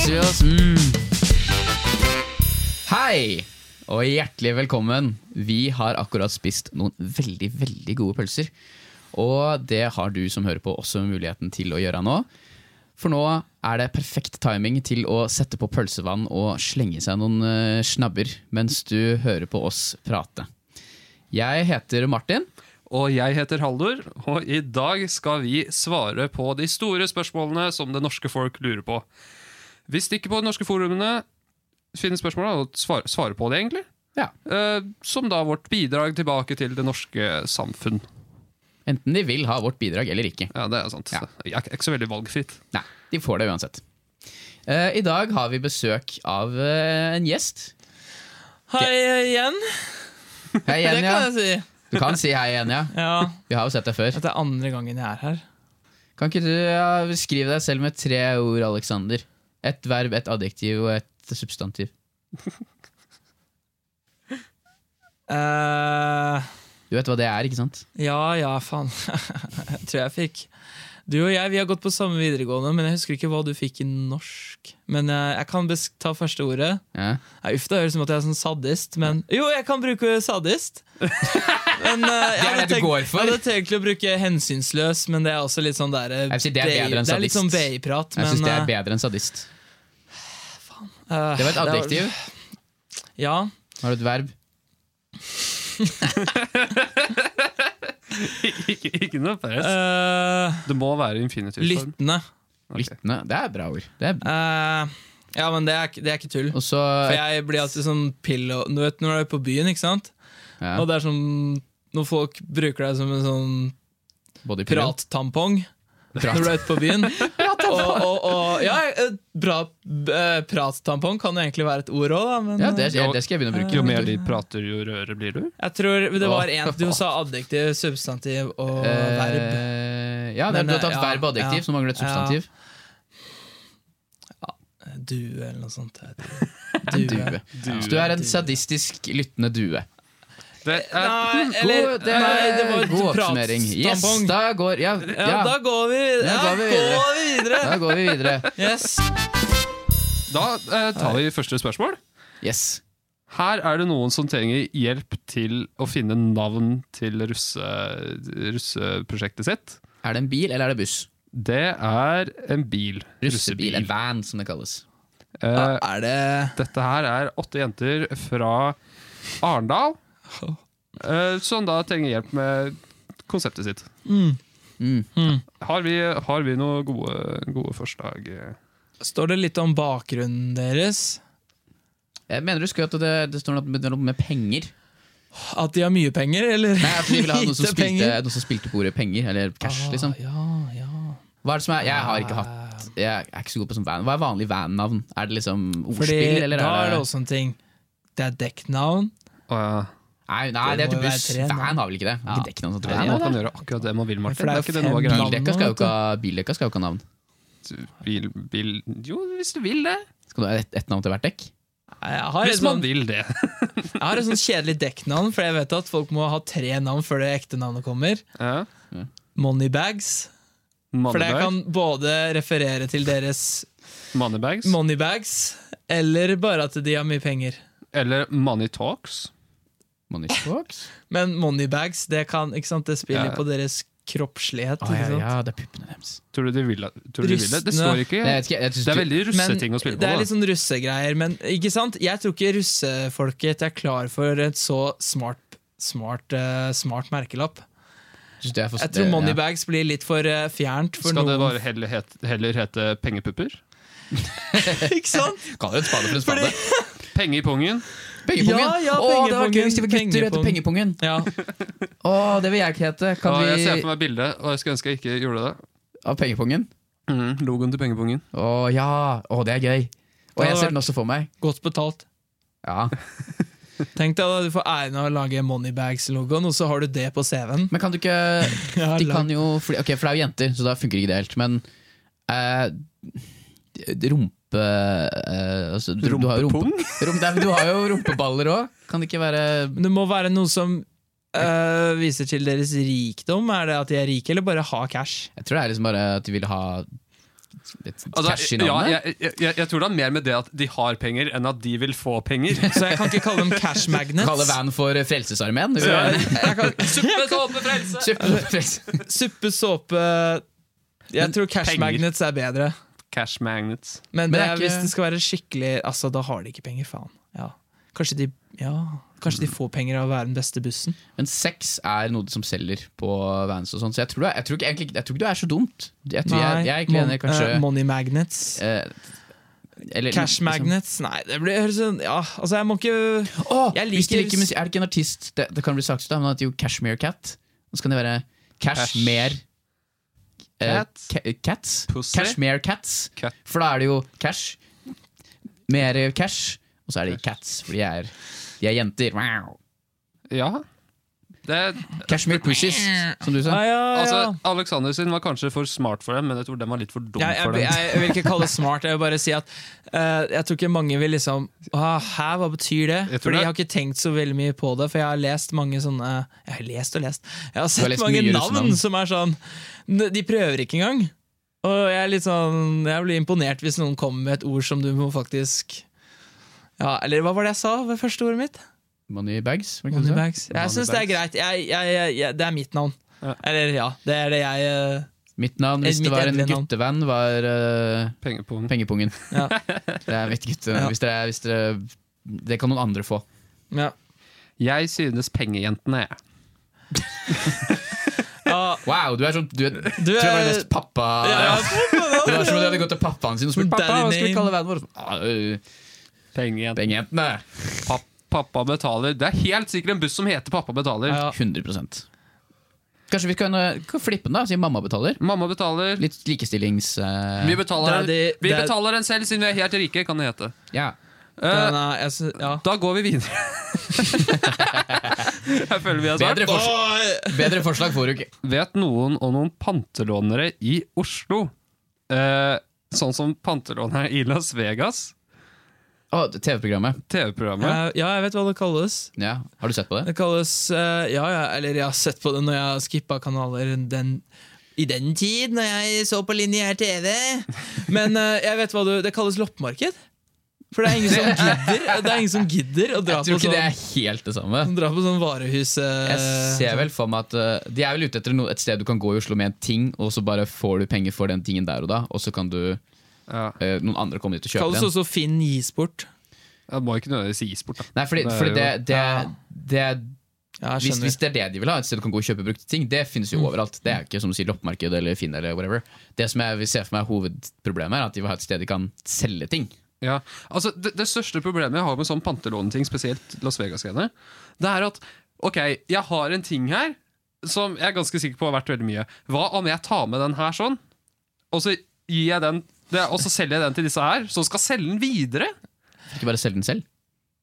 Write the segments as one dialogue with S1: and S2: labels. S1: seriøst.
S2: Mm. Hei, og hjertelig velkommen. Vi har akkurat spist noen veldig, veldig gode pølser. Og det har du som hører på også muligheten til å gjøre nå. For nå er det perfekt timing til å sette på pølsevann og slenge seg noen eh, snabber mens du hører på oss prate. Jeg heter Martin.
S1: Og jeg heter Haldor, og i dag skal vi svare på de store spørsmålene som det norske folk lurer på. Vi stikker på de norske forumene, finner spørsmålene og svarer svare på det, egentlig.
S2: Ja.
S1: Eh, som da vårt bidrag tilbake til det norske samfunn.
S2: Enten de vil ha vårt bidrag eller ikke.
S1: Ja, det er sant.
S2: Ja.
S1: Det er ikke så veldig valgfritt.
S2: Nei, de får det uansett. Eh, I dag har vi besøk av eh, en gjest.
S3: Hei igjen.
S2: Hei,
S3: Det kan
S2: Enja.
S3: jeg si.
S2: Du kan si hei, Enja.
S3: Ja,
S2: Vi har jo sett deg før.
S3: Dette er andre gangen jeg er her.
S2: Kan ikke du ja, beskrive deg selv med tre ord, Alexander? Et verb, et adjektiv og et substantiv.
S3: eh
S2: Du vet hva det er, ikke sant?
S3: ja, ja, faen. jeg tror jeg fikk Du og jeg vi har gått på samme videregående, men jeg husker ikke hva du fikk i norsk. Men eh, jeg kan besk ta første ordet.
S2: Ja.
S3: Nei, uff, det høres ut som at jeg er sånn sadist, men Jo, jeg kan bruke sadist! Men,
S2: Det
S3: eh, jeg
S2: er det
S3: hadde
S2: du
S3: tenkt-
S2: går for.
S3: Jeg hadde tenkt å bruke hensynsløs, men det er også litt sånn der, eh,
S2: Jeg vil si det er bedre enn
S3: bay- Det er litt
S2: sadist.
S3: sånn BI-prat, men
S2: Jeg syns det er
S3: eh,
S2: bedre enn sadist.
S3: eh,
S2: Det var et adjektiv.
S3: Ja.
S2: Har du et verb?
S1: ikke, ikke noe press.
S3: eh,
S1: Det må være infinitivform.
S3: Lyttende.
S1: Ok.
S2: Lyttende. Det er bra ord. Det er...
S3: Eh, ja, men det er, ikke- det er ikke tull.
S2: Og så
S3: For jeg blir alltid sånn pillow Du vet når du er på byen, ikke sant?
S2: ja,
S3: Og det er sånn når folk bruker deg som en sånn
S2: både i pillen-
S3: prattampong når
S2: Prat.
S3: du er ute på byen. og, og, og ja, eh, bra eh, prattampong kan jo egentlig være et ord òg, da, men
S2: Ja, det, det skal jeg begynne å bruke.
S1: Jo
S3: eh,
S1: mer de prater, jo rødere blir du.
S3: jeg tror det var
S2: Åh.
S3: én Du sa adjektiv, substantiv og verb.
S2: Eh, ja, det er,
S3: Men,
S2: du har tatt
S3: ja,
S2: verb og adjektiv,
S3: ja.
S2: så mangler det et substantiv.
S3: Due eller noe sånt. jeg vet ikke. Due.
S2: Due. Så Altså, du er en sadistisk lyttende due.
S1: Det er,
S3: Nei, eller eh,
S2: God, det,
S3: nei, det var
S2: god oppsummering. Yes,
S3: prattampong.
S2: da går Ja,
S3: Ja,
S2: ja,
S3: da går vi videre.
S2: Da går vi
S3: Ja,
S2: videre.
S3: går vi videre.
S2: da går vi videre.
S3: Yes.
S1: da eh, tar vi første spørsmål.
S2: Yes.
S1: Her er det noen som trenger hjelp til å finne navn til russe, russeprosjektet sitt.
S2: Er det en bil, eller er det buss?
S1: Det er en bil.
S2: Russebil. En van, som det kalles.
S1: Eh,
S3: Er det
S1: dette her er åtte jenter fra Arendal eh, som da trenger hjelp med konseptet sitt.
S2: Mm.
S1: Har vi, har vi noen gode, gode forslag? Eh,
S3: Står det litt om bakgrunnen deres?
S2: Jeg mener du skulle at det, det står noe med- noe med penger.
S3: At de har mye penger, eller?
S2: Nei, at vi ville ha noen som,
S3: lite
S2: spilte,
S3: penger?
S2: noen som spilte på ordet penger, eller cash,
S3: Ah,
S2: liksom.
S3: Ja, ja.
S2: Hva er det som er, jeg har ikke hatt Jeg er ikke så god på sånn van. Hva er vanlig van-navn? Er det liksom
S3: Fordi
S2: ordspill, eller
S3: da er
S2: er
S3: det
S2: det
S3: også en ting. Det er dekknavn.
S1: Å ja.
S2: Nei, nei det
S3: Det
S2: er
S3: må
S2: til buss.
S3: være tre navn.
S2: Van har vel ikke det? Har
S3: Ja.
S2: Ikke dekknavn som
S1: Nei,
S2: tre
S1: man
S2: navn?
S1: kan gjøre akkurat det man vil, Martin.
S3: For det
S1: er
S3: er jo
S1: ikke det noe
S3: fem
S1: greier?
S3: land.
S2: Bildekka skal jo ikke ha Bildekka skal jo ikke ha navn.
S1: Bil, bil, jo, hvis du vil det.
S2: Skal du ha ett et navn til hvert dekk?
S3: Nei, Jeg har, et
S1: Hvis man
S3: sånn,
S1: vil det.
S3: jeg har et sånn kjedelig dekknavn, for jeg vet at folk må ha tre navn før det ekte navnet kommer.
S1: Ja.
S3: Moneybags. For det
S1: Moneybag.
S3: kan både referere til deres
S1: Moneybags.
S3: moneybags, eller bare at de har mye penger.
S1: Eller Money Talks.
S2: Money Talks?
S3: Men moneybags, det kan, ikke sant, det spiller
S1: Ja.
S3: på deres
S2: Å
S3: kroppslighet.
S2: Ah, ja,
S3: ikke sant?
S2: ja, det er puppene deres.
S1: Tror du de vil, tror du de vil det? Det
S3: Rystende.
S1: står ikke
S2: Jeg vet ikke, jeg synes
S1: Det er
S2: du-
S1: veldig russeting å spille på.
S3: det er
S1: da.
S3: litt sånn russegreier. Men ikke sant? jeg tror ikke russefolket er klar for et så smart, smart, eh, smart merkelapp.
S2: synes det er for-
S3: Jeg
S2: det-
S3: tror
S2: ja.
S3: moneybags blir litt for eh, fjernt for
S1: Altså, Skal det
S3: noen.
S1: bare heller hete, heller hete pengepupper?
S3: ikke sant?
S2: Kall det en spade for en spade.
S3: Fordi,
S1: Penge i pungen?
S2: Pengepungen!
S3: Ja, ja,
S2: Å, det var gøy hvis de var gutter og het
S3: pengepungen.
S2: Pengepungen!
S3: ja,
S2: Å, det vil jeg ikke hete. Kan
S1: Ja, jeg ser
S2: vi
S1: for meg bildet, og jeg skulle ønske jeg ikke gjorde det.
S2: Av Pengepungen?
S1: Mm, logoen til pengepungen.
S2: Å ja! Å, det er gøy. Og
S3: hadde
S2: jeg ser
S3: vært-
S2: den også for meg.
S3: godt betalt.
S2: Ja.
S3: Tenk deg da, du får æren av å lage moneybags-logoen, og så har du det på CV-en.
S2: Men kan du ikke
S3: Ja,
S2: De
S3: lag-
S2: kan jo fordi- Ok, for det er jo jenter, så da funker ikke det helt. Men eh, rumpe... Eh, altså, du, du har jo rumpe,
S1: Rumpepung?
S2: rum, nei, men du har jo rumpeballer òg. Kan det ikke være
S3: Men det må være noe som eh, viser til deres rikdom. Er det at de er rike, eller bare har cash?
S2: Jeg tror det er liksom bare at de vil ha litt
S1: Altså,
S2: cash i
S1: ja,
S2: navnet?
S1: jeg, jeg, jeg, jeg tror det er mer med det at de har penger, enn at de vil få penger.
S3: Så jeg kan ikke kalle dem cash magnets.
S2: Kalle Van for Frelsesarmeen? hvis
S1: Ja.
S2: du er enig.
S3: Jeg kan,
S1: Suppe, såpe, frelse!
S2: Kjøp- Frels-
S3: suppe, såpe Jeg
S1: Men
S3: tror cash
S1: penger.
S3: magnets er bedre.
S1: Cash magnets.
S3: Men,
S2: Men
S3: det
S2: er
S3: er,
S2: ikke-
S3: hvis det skal være skikkelig Altså, da har de ikke penger, faen. Ja. Kanskje de, ja, kanskje de
S2: Mm.
S3: får penger av å være den beste bussen.
S2: Men sex er noe som selger på Vans og sånn, så jeg tror, det er- jeg, tror ikke, egentlig, ikke- jeg tror ikke det er så dumt. Jeg tror jeg, jeg er egentlig
S3: mon-
S2: enig, kanskje
S3: eh, money magnets.
S2: eh, eller,
S3: Cash
S2: liksom-
S3: magnets. Nei, det blir høres sånn Ja, altså, jeg må ikke
S2: Åh,
S3: Jeg
S2: hvis de
S3: liker-
S2: liker musikk, er det ikke en artist Det, det kan bli sagt, da, men at jo Cashmere Cat Og så kan det være Cashmere eh,
S1: Cat.
S2: ca- Cats
S1: Pussy.
S2: Cashmere Cats
S1: Cat.
S2: For da er det jo cash Mer eh, cash Og så er det cats, for de er, de er jenter wow.
S1: Ja. Det,
S2: Cashmere Pushes, som du sa
S3: ah, ja, ja.
S1: altså, Alexander sin var kanskje for smart for dem, men jeg tror den var litt for dum
S3: jeg,
S1: for dem.
S3: jeg, jeg, jeg vil ikke kalle det smart, jeg vil bare si at eh, jeg tror ikke mange vil liksom ah, Hæ, hva betyr det?
S1: Jeg tror
S3: Fordi
S1: det-
S3: jeg har ikke tenkt så veldig mye på det, for jeg har lest mange sånne Jeg har lest og lest. Jeg har sett
S2: lest
S3: mange
S2: mye
S3: navn
S2: russenavn.
S3: som er sånn n- De prøver ikke engang. Og jeg er litt sånn Jeg blir imponert hvis noen kommer med et ord som du må faktisk ja, Eller hva var det jeg sa ved første ordet mitt?
S2: Money Bags, hva kan du si?
S3: Moneybags. Jeg syns det er greit. Jeg, jeg, jeg, jeg, det er mitt navn.
S1: Ja.
S3: Eller ja, det er det jeg eh,
S2: Mitt navn, hvis
S3: Eh,
S2: det
S3: mitt
S2: var en
S3: endelige navn.
S2: guttevenn Var eh,
S1: Penger på den.
S2: pengepungen
S3: Ja.
S2: Det er mitt gutte
S3: Ja.
S2: hvis, dere, hvis dere, Det kan noen andre få
S3: ja.
S1: Jeg synes pengejentene, jeg.
S3: Ah,
S2: Wow, du er sånn Du, er,
S3: Du
S2: tror jeg bare
S3: er-
S2: har lest pappa
S3: ja,
S2: Det var som om de hadde gått til pappaen sin og spurt
S3: Daddy
S2: pappa, hva skal vi
S3: name».
S2: kalle vennen vår. Ah, øh,
S1: Pengejentene.
S2: Pengejentene.
S1: Papp- pappa betaler. Det er helt sikkert en buss som heter Pappa betaler.
S3: ja.
S2: 100 Kanskje vi kan, øh, kan flippe den, da, si mamma betaler?
S1: Mamma betaler.
S2: Litt likestillings... øh,
S1: Vi betaler, den,
S3: Det er de-
S1: vi
S3: det er-
S1: betaler den selv, siden vi er helt rike, kan det hete.
S2: ja.
S1: Eh,
S3: Den er, jeg sy- ja.
S1: da går vi videre. Jeg føler vi er
S2: bedre,
S1: svart.
S2: forslag, bedre forslag får du ikke.
S1: Vet noen om noen pantelånere i Oslo? Eh, sånn som pantelånere i Las Vegas?
S2: Å, TV-programmet.
S1: TV-programmet?
S3: Eh, ja, jeg vet hva det kalles.
S2: Ja. Har du sett på det?
S3: Det kalles eh, ja, ja, eller jeg har sett på det når jeg har skippa kanaler den, i den tid, når jeg så på lineær TV. Men eh, jeg vet hva du Det kalles loppemarked. For det er ingen som gidder, det er ingen som gidder å dra
S2: Jeg
S3: på
S2: tror ikke det
S3: sånn,
S2: er helt det samme.
S3: dra på sånn varehus eh,
S2: Jeg ser vel for meg at øh, De er vel ute etter no, et sted du kan gå i Oslo med en ting, og så bare får du penger for den tingen der og da, og så kan du
S1: Ja.
S2: øh, noen andre komme dit og
S3: Det
S2: kjøpe
S3: kalles
S2: den.
S3: også Finn gis bort.
S1: Det må ikke nødvendigvis gis bort, da.
S2: Nei, fordi,
S1: Det er
S2: fordi det,
S1: jo-
S2: det, det,
S3: Ja.
S2: det
S3: Ja, jeg
S2: hvis,
S3: skjønner. Mm.
S2: hvis det er det de vil ha, et sted du kan gå og kjøpe brukte ting, det finnes jo overalt. Det er jo ikke som du sier loppemarked eller Finn eller whatever. Det som jeg vil se for meg er hovedproblemet, er at de vil ha et sted de kan selge ting.
S1: Ja. Altså, det, det største problemet jeg har med sånn pantelåneting, spesielt Las Vegas-greiene, det er at ok, jeg har en ting her som jeg er ganske sikker på har vært veldig mye. Hva om jeg tar med den her sånn, og så, gir jeg den, det, og så selger jeg den til disse her, som skal selge den videre?
S2: Ikke bare selge den selv.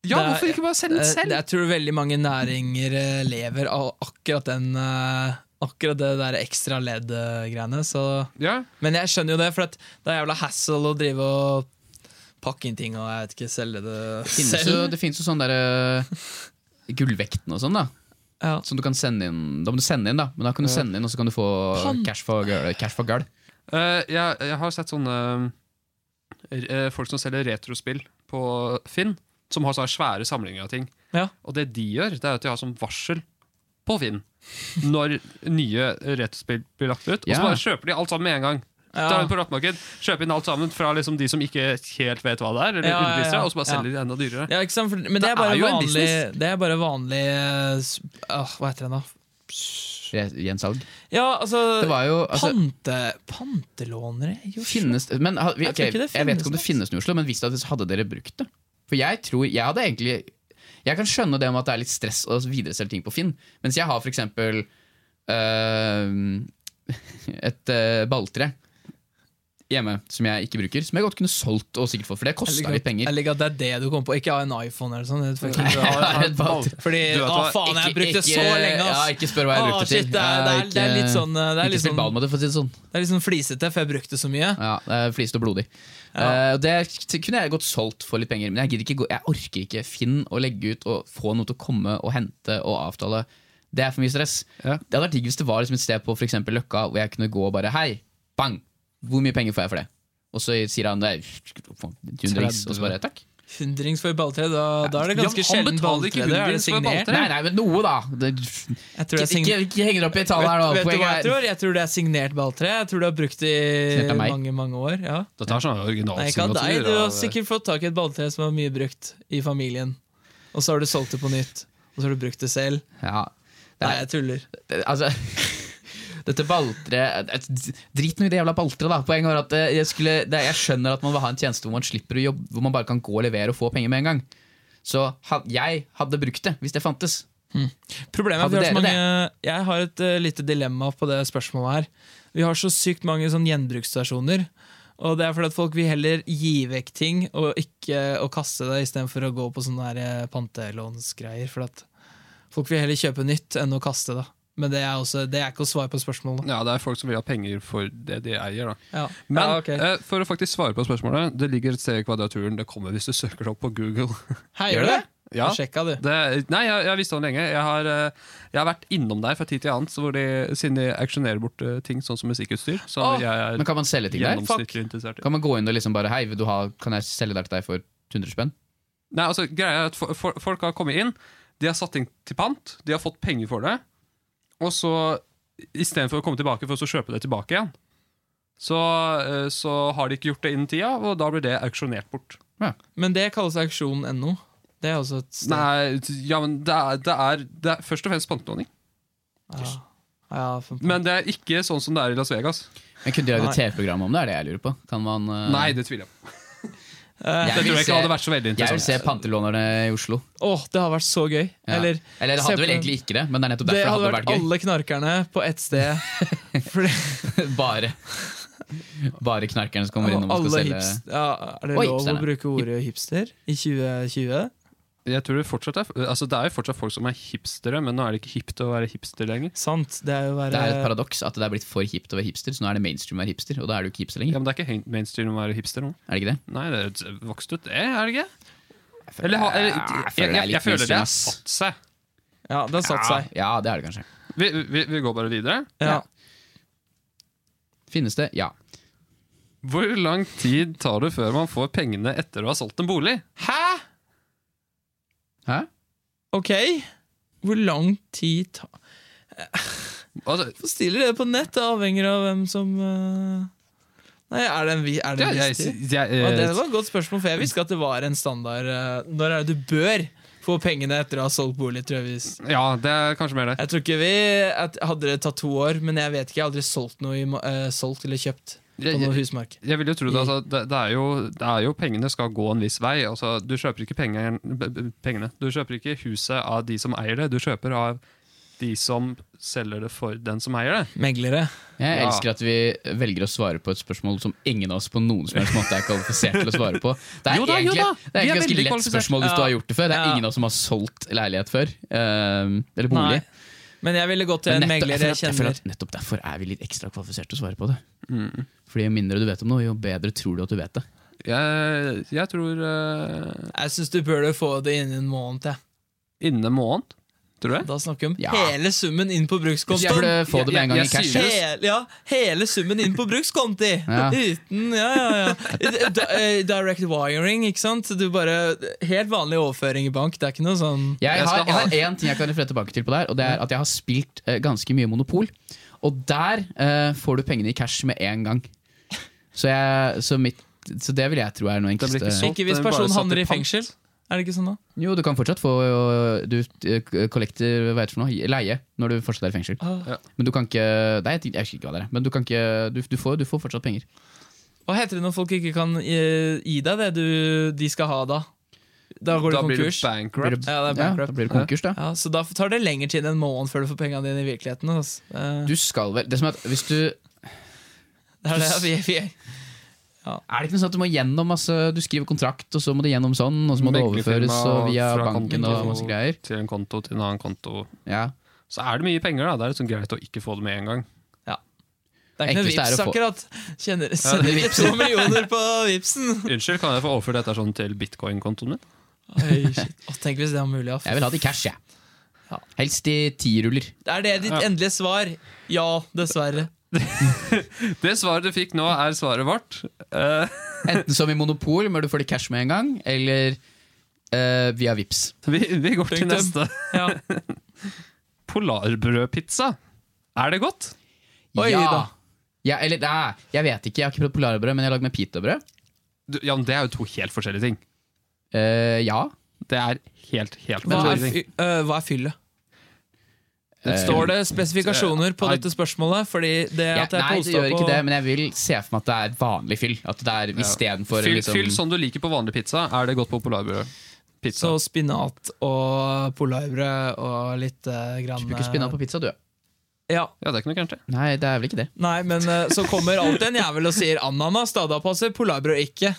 S1: Ja,
S3: Det er-
S1: hvorfor ikke bare selge den
S3: Eh,
S1: selv?
S3: Jeg tror veldig mange næringer eh, lever av akkurat den eh, Akkurat det der ekstra ledd-greiene. så-
S1: Ja.
S3: Men jeg skjønner jo det, for at det er jævla hassle å drive og pakke inn ting og jeg vet ikke, selge det
S2: Det finnes jo,
S3: selv.
S2: det finnes jo sånn derre Gullvekten og sånn, da.
S3: Ja.
S2: Som du kan sende inn. Da må du sende inn, da. Men da kan du sende inn, og så kan du få
S3: Pan-
S2: cash for girl. Cash for girl.
S1: Eh, jeg, jeg har sett sånne eh, eh, folk som selger retrospill på Finn, som har sånne svære samlinger av ting.
S3: Ja.
S1: Og det de gjør, det er at de har sånn varsel på Finn når nye retrospill blir lagt ut. Og
S2: Ja.
S1: så bare kjøper de alt sammen med en gang.
S3: Ja.
S1: Tar dem på loppemarked, Kjøper inn alt sammen fra liksom de som ikke helt vet hva det er, eller
S3: Ja, ja,
S1: underviser,
S3: ja.
S1: og så bare selger de det enda dyrere.
S3: Ja, ikke sant? For, men det
S1: Det
S3: er bare
S1: er jo en
S3: vanlig,
S1: business.
S3: det er bare vanlig eh, s- åh, Hva heter den, da?
S2: Re- Gjensalg.
S3: Ja, altså,
S2: Det var jo altså,
S3: Pante, Pantelånere i Oslo?
S2: Finnes det men, ha- vi,
S3: Jeg tror
S2: ok,
S3: ikke det
S2: Jeg vet ikke om det
S3: finnes
S2: finnes noe i Oslo, men hvis det hadde- hadde dere brukt det? For jeg tror, jeg hadde egentlig Jeg kan skjønne det med at det er litt stress å videreselge ting på Finn, mens jeg har for eksempel øh, et øh, balltre hjemme som jeg ikke bruker, som jeg godt kunne solgt og sikkert fått, for det
S3: Jeg
S2: kosta
S3: liker
S2: litt
S3: at-
S2: penger.
S3: Jeg liker at det er det du kommer på. Ikke ha en iPhone eller sånn. Det er fucking-
S1: Jeg har- jeg har
S2: Et balltre.
S3: Fordi,
S1: Du vet
S3: å
S1: hva,
S3: faen, jeg har brukt det så
S2: Ikke-
S3: lenge, ass.
S2: Ja, ikke spør hva jeg
S3: Å,
S2: brukte
S3: shit,
S2: til.
S3: det er-
S2: Jeg har
S3: det er- det er
S2: ikke-
S3: litt sånn, eh, det
S2: ikke
S3: er litt
S2: spilt
S3: sånn-
S2: ball med det, for å si det sånn.
S3: Det er litt sånn flisete, for jeg brukte så mye.
S2: Ja, det er Flisete og blodig.
S3: Ja.
S2: Eh, og det kunne jeg godt solgt for litt penger, men jeg, gidder ikke gå, jeg orker ikke Finn å legge ut og få noe til å komme og hente og avtale. Det er for mye stress.
S1: Ja.
S2: Det hadde vært digg hvis det var liksom et sted på for eksempel Løkka hvor jeg kunne gå og bare Hei, bang! Hvor mye penger får jeg for det? Og så sier han det er hundrings, og så bare takk.
S3: Hundrings for balltre, da, da er det ganske
S1: Ja, han
S3: sjelden
S1: betaler ikke
S3: balltre. Da er det
S1: hundrings for
S3: signert.
S1: balltre.
S2: Nei, nei, men noe, da! Det,
S3: Jeg tror
S2: ikke,
S3: det er sign-
S2: ikke, ikke henger opp i tallet her nå.
S3: Vet, vet du hva jeg
S2: Poenget er
S3: tror? Jeg tror det er signert balltre. Jeg tror du har brukt det
S2: Signert
S3: i
S2: av meg.
S3: mange mange år. Ja.
S1: Dette er sånn original
S3: Nei, ikke av deg.
S1: signatur.
S3: Du har
S1: av-
S3: sikkert fått tak i et balltre som var mye brukt i familien. Og så har du solgt det på nytt. Og så har du brukt det selv.
S2: ja, det
S3: Nei,
S2: er,
S3: jeg tuller.
S2: det- altså Dette balteret Drit nå i det jævla balteret, da. Poenget var at eh, jeg, skulle, det, jeg skjønner at man vil ha en tjeneste hvor man slipper å jobbe, hvor man bare kan gå og levere og få penger med en gang. Så ha, jeg hadde brukt det, hvis det fantes.
S3: Problemet er at vi
S2: Hadde
S3: har så
S2: dere
S3: mange, jeg har et eh, lite dilemma på det spørsmålet her. Vi har så sykt mange sånn gjenbruksstasjoner. Og det er fordi at folk vil heller gi vekk ting og ikke og kaste det, istedenfor å gå på sånne her, eh, pantelånsgreier. For at folk vil heller kjøpe nytt enn å kaste det. Men det er, også, det er ikke å svare på spørsmålet.
S1: Ja, det er folk som vil ha penger for det de eier. da.
S3: Ja.
S1: Men
S3: ja, ok.
S1: eh, for å faktisk svare på spørsmålet, det ligger et sted i kvadraturen. Det kommer hvis du søker det opp på Google.
S3: Hei, gjør du det?
S1: ja,
S3: Sjekka, du.
S1: det, nei, jeg, jeg visste om det lenge. Jeg har, eh, jeg har vært innom der fra tid til annen, så hvor de, siden de auksjonerer bort eh, ting sånn som musikkutstyr. Så
S3: Åh,
S1: jeg
S2: Men
S1: er
S2: kan man selge ting der? Fuck.
S1: gjennomsnittlig interessert. i
S2: Kan man gå inn og liksom bare Hei, vil du ha, kan jeg selge det til deg for 100 spenn?
S1: Nei, altså, greia er at for, for, Folk har kommet inn, de har satt ting til pant, de har fått penger for det. Og så, istedenfor å komme tilbake for å så kjøpe det tilbake igjen, så, eh, så har de ikke gjort det innen tida, og da blir det auksjonert bort.
S3: Men det kalles auksjon.no. Det er også et sted.
S1: Nei, t- ja, men det er, det er, det er først og fremst pantelåning.
S3: Ja. Ja, for-
S1: Men det er ikke sånn som det er i Las Vegas.
S2: Men Kunne de lagd
S3: Nei.
S2: et TV-program om det? er det jeg lurer på Kan man eh,
S1: Nei, det tviler jeg på.
S3: Eh,
S2: Jeg
S1: Det
S2: vil
S1: tror jeg
S2: se-
S1: ikke hadde vært så veldig
S2: Jeg vil
S1: interessant.
S2: se pantelånerne i Oslo.
S3: Åh, det har vært så gøy.
S2: Ja.
S3: Eller
S2: Eller det
S3: se
S2: hadde
S3: på-
S2: vel egentlig ikke det, men det er nettopp
S3: Det
S2: derfor
S3: hadde
S2: det
S3: vært
S2: hadde vært,
S3: alle knarkerne på ett sted. Fordi,
S2: gøy. bare Bare knarkerne som kommer inn når man
S3: alle
S2: skal selge
S3: hips- ja, Er det
S2: Og
S3: lov
S2: hipsterne.
S3: å bruke ordet hipster i 2020?
S1: Jeg tror det, fortsatt er, altså, det er jo fortsatt folk som er hipstere, men nå er det ikke hipt å være hipster lenger.
S3: Sant. Det er jo å være
S2: Det er et paradoks at det er blitt for hipt å være hipster, så nå er det mainstream å være hipster, og da er du ikke hipster
S1: Ja,
S2: lenger.
S1: men Det er ikke helt mainstream å være hipster nå.
S2: Er det ikke det?
S1: Nei, det er vokst ut, det, er det ikke? Eller, ha- eller, jeg,
S2: føler
S1: jeg,
S2: det er
S1: jeg,
S2: litt
S1: føler det
S2: mainstream,
S1: har
S2: ass.
S1: satt seg.
S3: Ja, det har satt
S2: Ja,
S3: seg.
S2: ja, det er det kanskje.
S1: Vi, vi, vi går bare videre.
S3: Ja.
S2: Finnes det? Ja.
S1: Hvor lang tid tar det før man får pengene etter å ha solgt en bolig?
S3: Hæ?!
S2: Hæ?
S3: Ok! Hvor lang tid ta
S1: Altså,
S3: Hvorfor stiller dere på nett? Det avhenger av hvem som eh, Nei, er det en, vi- er det
S1: ja,
S3: en
S1: jeg,
S3: viss tid?
S1: jeg,
S3: Ja,
S1: eh,
S3: det var et godt spørsmål, for jeg visste ikke at det var en standard eh, Når er det du bør få pengene etter å ha solgt bolig, tror jeg. vi-
S1: ja, det er kanskje mer det.
S3: Jeg tror ikke vi at, Hadde det tatt to år, men jeg vet ikke. Jeg har aldri solgt noe i, ma- eh, solgt eller kjøpt på
S1: Jeg,
S3: noe
S1: jeg,
S3: husmark.
S1: jeg vil jo
S3: Mm.
S1: tro det, altså, det, det, er jo, det er jo pengene skal gå en viss vei. Altså, du kjøper ikke penger, b- b- pengene. Du kjøper ikke huset av de som eier det, du kjøper av de som selger det for den som eier det.
S3: Meglere.
S2: Jeg
S1: Ja.
S2: elsker at vi velger å svare på et spørsmål som ingen av oss på noen som helst måte er kvalifisert til å svare på. Det er
S1: Jo da, jo
S2: egentlig,
S1: da. Vi
S2: Det er et
S1: er
S2: ganske
S1: veldig
S2: lett
S1: kvalifisert.
S2: spørsmål hvis du
S3: Ja.
S2: har gjort det før. Det er
S3: Ja.
S2: ingen av oss som har solgt leilighet før. eh, eller bolig.
S3: Nei. Men jeg ville gått til
S2: Men
S3: en
S2: nettopp-
S3: megler
S2: jeg
S3: jeg
S2: føler at- føler
S3: kjenner.
S2: at Nettopp derfor er vi litt ekstra kvalifisert til å svare på det. Fordi Jo mindre du vet om noe, jo bedre tror du at du vet det.
S1: Jeg, jeg tror uh,
S3: Jeg syns du burde få det innen en måned. jeg.
S1: innen en måned, tror jeg.
S3: Da snakker vi om
S2: Ja.
S3: hele summen inn på
S2: Jeg
S3: brukskontoen.
S2: burde få det med en gang i
S1: Jeg- jeg
S2: cash.
S1: synes-
S2: ja.
S3: Hele, ja, hele summen inn på brukskonti!
S2: Ja.
S3: Uten Ja, ja, ja. Di- eh, Direct wiring, ikke sant? Du bare, helt vanlig overføring i bank. Det er ikke noe sånn
S2: Jeg
S1: Jeg
S2: har,
S1: skal
S2: jeg har en ting jeg kan referere tilbake til på der, og det er at jeg har spilt eh, ganske mye Monopol. Og der eh, får du pengene i cash med en gang. Så, jeg, så, mitt, så det vil jeg tro er noe
S1: Det blir
S2: enkleste.
S1: ikke solgt,
S3: Ikke hvis
S1: den blir bare
S3: personen
S1: satt
S3: havner i
S1: pant.
S3: fengsel. Er det ikke sånn, da?
S2: Jo, du kan fortsatt få ø, Du eh, kollekter, hva heter det for noe, leie når du fortsatt er i fengsel.
S3: Ah.
S2: Men du kan ikke Nei, jeg husker ikke hva det er. Men du kan ikke Du, du, får, du får fortsatt penger.
S3: Hva heter det når folk ikke kan eh, gi deg det du, de skal ha da? Da går
S1: Da
S3: du
S1: blir du
S3: konkurs.
S1: bankrupt.
S2: Ja,
S3: Ja, det er
S2: da
S3: bankrupt.
S2: blir det konkurs, da.
S3: Ja, så da tar det lengre tid enn en måned før du får pengene dine i virkeligheten. Altså. Eh,
S2: Du skal vel Det som er at hvis du Er
S3: det er det vi, vi
S2: det ikke noe sånn at du må gjennom masse Du skriver kontrakt, og så må det gjennom sånn, og så må det overføres
S1: Meglerfirma
S2: og via
S1: fra
S2: banken
S1: konto
S2: og masse greier?
S1: Til en konto til en annen konto.
S2: Ja.
S1: Så er det mye penger, da. Det er liksom greit å ikke få det med en gang.
S3: Det er ikke noe
S2: Enkleste er
S3: vips,
S2: å få-
S3: akkurat. Kjenner, sender ikke to millioner på vipsen.
S1: Unnskyld, kan jeg få overført dette sånn til bitcoin-kontoen min?
S3: Oi, shit. Å, tenk hvis det var mulig. Ja.
S2: Jeg vil ha det i cash, jeg.
S3: Ja.
S2: Helst i tiruller.
S3: Er det ditt
S1: Ja.
S3: endelige svar? Ja, dessverre.
S1: Det svaret du fikk nå, er svaret vårt. Eh,
S2: Enten som i Monopol, hvor du får det cash med en gang, eller eh, via Vips.
S1: vi, vi går til
S3: Punktum.
S1: neste.
S3: Ja.
S1: Polarbrødpizza. Er det godt?
S3: Oi
S2: ja.
S3: da.
S2: Ja, eller nei, jeg vet ikke. Jeg har ikke prøvd polarbrød, men jeg har lagd med pitabrød.
S1: Du, ja, men Det er jo to helt forskjellige ting.
S2: Eh, ja.
S1: Det er helt, helt
S3: Hva er,
S1: forskjellige ting.
S3: fy, øh, hva er fyllet?
S2: Eh,
S3: Står det spesifikasjoner på
S1: Nei.
S3: dette spørsmålet? Fordi det
S2: Ja,
S3: at det er
S2: nei, det
S3: posta
S2: gjør
S3: på
S2: ikke det, men jeg vil se for meg at det er vanlig fyll. At det er istedenfor
S1: Fyll,
S2: liksom,
S1: fyll sånn- som du liker på vanlig pizza. Er det godt på polarbrødpizza?
S3: Så spinat og polarbrød og litt uh, grann
S2: Du bruker spinat på pizza, du.
S3: Ja,
S1: Ja, det er ikke noe gærent, det.
S2: Nei, det er vel ikke det.
S3: Nei, men eh, så kommer alltid en jævel og sier ananas. Da, da passer polarbrød ikke.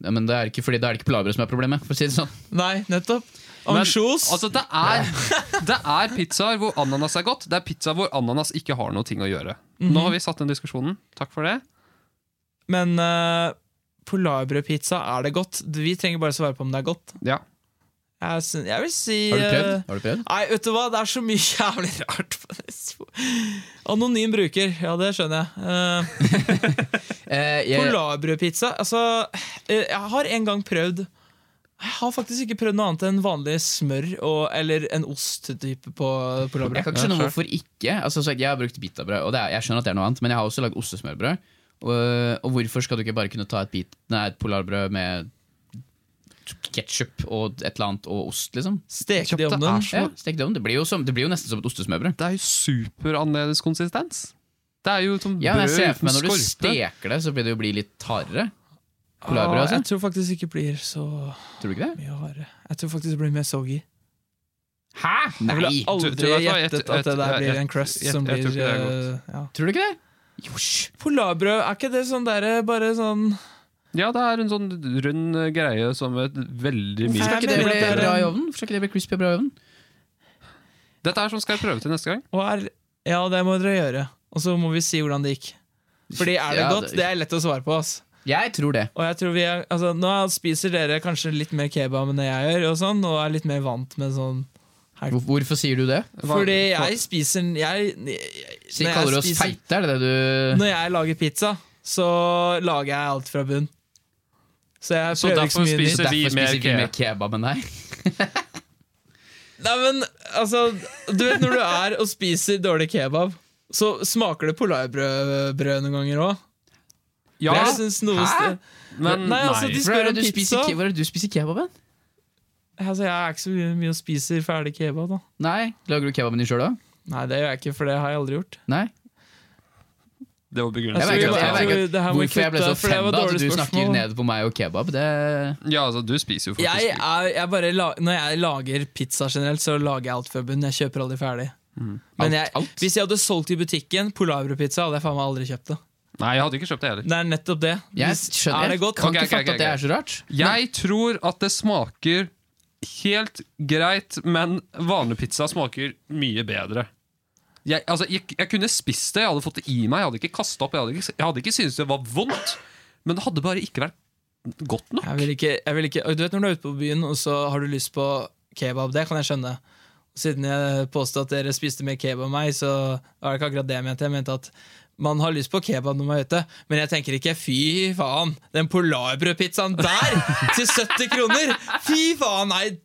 S2: Ja, men det er ikke, fordi det er det ikke polarbrød som er problemet. For å si det sånn
S3: Nei, nettopp.
S1: Men,
S3: Ansjos.
S1: Altså, det er, det er pizzaer hvor ananas er godt. Det er pizzaer hvor ananas ikke har noe ting å gjøre.
S3: Mhm.
S1: Nå har vi satt den diskusjonen. Takk for det.
S3: Men eh, polarbrødpizza, er det godt? Vi trenger bare svare på om det er godt.
S1: Ja.
S3: Jeg, syn- jeg vil si
S2: Har du prøvd?
S3: eh,
S2: Har du prøvd?
S3: Nei, vet du hva, det er så mye jævlig rart. på det spo- Anonym bruker, ja, det skjønner jeg. Eh,
S2: Eh, jeg
S3: Polarbrødpizza Altså, eh, jeg har en gang prøvd Jeg har faktisk ikke prøvd noe annet enn vanlig smør og, eller en ost-type på
S2: jeg
S3: polarbrød.
S2: kan ikke skjønne hvorfor ikke. Altså, så jeg har brukt pitabrød, og det er, jeg skjønner at det er noe annet, men jeg har også lagd ostesmørbrød. Og, og hvorfor skal du ikke bare kunne ta et, bit, nei, et polarbrød med ketsjup og et eller annet og ost, liksom?
S3: Steke det i
S1: Kjøttet er
S3: ovnen.
S1: så
S2: Ja, stek det om. Det blir jo, som, det blir jo nesten som et ostesmørbrød.
S1: Det er jo superannerledes konsistens. Det er jo som
S2: Ja, men jeg ser
S1: brød
S2: for meg
S1: uten
S2: Når du
S1: skorpe.
S2: steker det, så blir det jo bli litt hardere. Polarbrød,
S3: Ah,
S2: altså.
S3: jeg tror faktisk ikke det blir så
S2: Tror du ikke det?
S3: mye hardere. Jeg tror faktisk det blir mer soggy.
S2: Hæ?
S3: Jeg ville
S1: Du-
S2: Nei!
S3: aldri
S1: du vet hva, jeg-
S3: gjettet at det
S1: jeg-
S3: der
S1: jeg-
S3: blir en crust
S1: jeg-
S3: som
S1: jeg
S3: blir
S1: tror ikke det er godt.
S3: eh, ja.
S2: Tror du ikke det? Josj.
S3: Polarbrød, er ikke det sånn derre bare sånn
S1: Ja, det er en sånn rund eh, greie som et veldig
S3: Hvorfor
S1: mye
S3: skal
S2: Skal ikke det
S3: mener
S2: bli
S3: at det er
S2: bra i
S3: en-
S2: ovnen? Skal ikke det bli crispy og bra i ovnen?
S1: Dette er sånn skal jeg prøve til neste gang.
S3: hva er, Ja, det må dere gjøre. Og så må vi si hvordan det gikk. Fordi er det
S2: Ja,
S3: godt? Det er lett å svare på. ass
S2: Jeg tror det.
S3: Og jeg tror vi er, altså, Nå spiser dere kanskje litt mer kebab enn det jeg gjør, og, sånn, og er litt mer vant med sånn
S2: Hvor- Hvorfor sier du det?
S1: Hva-
S3: Fordi jeg spiser jeg, jeg,
S2: Si,
S3: når jeg
S2: kaller du oss
S3: spiser-
S2: feite? Er det det du
S3: Når jeg lager pizza, så lager jeg alt fra bunn. Så jeg
S1: Så
S3: prøver ikke
S1: derfor
S3: så mye nytt.
S1: spiser vi
S2: Derfor
S1: mer
S2: spiser vi mer
S1: kebab.
S2: kebab enn deg?
S3: Nei, men altså Du vet når du er og spiser dårlig kebab, så smaker det polarbrød brød noen ganger òg.
S1: Ja,
S3: jeg synes liksom noe
S2: Hæ?
S3: sted-
S1: men
S3: Nei,
S1: nei.
S3: altså, de-
S2: Hvor er det
S3: om
S2: du spiser,
S3: pizza?
S2: ke- hvor er det du spiser kebaben?
S3: altså, Jeg er ikke så mye mye og spiser ferdig kebab, da.
S2: Nei, Lager du kebaben din sjøl òg?
S3: Nei, det gjør jeg ikke, for det har jeg aldri gjort.
S2: Nei?
S1: Det var
S3: Jeg
S2: Jeg
S1: begrunnelsen.
S3: tror-
S2: merker at- jeg merker
S3: jeg tror Altså, det her
S2: at
S3: må vi
S2: Hvorfor jeg ble så
S3: kutte, for det var
S2: offenda at
S3: dårlig
S2: du snakker
S3: spørsmål.
S2: ned på meg og kebab, det
S1: Ja, altså, du spiser jo faktisk
S3: jeg er, jeg bare la, når jeg lager pizza generelt, så lager jeg alt før bunn. Jeg kjøper aldri ferdig. Men jeg,
S2: Mm. alt.
S3: hvis jeg hadde solgt i butikken polarbrødpizza, hadde jeg faen meg aldri kjøpt det.
S1: Nei, jeg hadde ikke kjøpt det heller.
S3: Det er nettopp det.
S2: Jeg
S3: Hvis-
S2: skjønner.
S3: Er det godt?
S2: Kan
S1: Ok,
S2: ikke
S1: ok,
S2: fatte
S1: ok,
S2: at det
S1: ok.
S2: er så rart.
S1: Jeg tror at det smaker helt greit, men vanlig pizza smaker mye bedre. Jeg, altså, jeg, jeg kunne spist det, jeg hadde fått det i meg, jeg hadde ikke kasta opp. Jeg hadde ikke, jeg hadde ikke syntes det var vondt, men det hadde bare ikke vært godt nok.
S3: Jeg vil ikke, jeg vil ikke, du vet når du er ute på byen og så har du lyst på kebab, det kan jeg skjønne. Siden jeg påstod at dere spiste mer kebab enn meg, så var det ikke akkurat det jeg mente. Jeg mente at man har lyst på kebab når man er ute, men jeg tenker ikke fy faen, den polarbrødpizzaen der til 70 kroner! Fy faen, nei!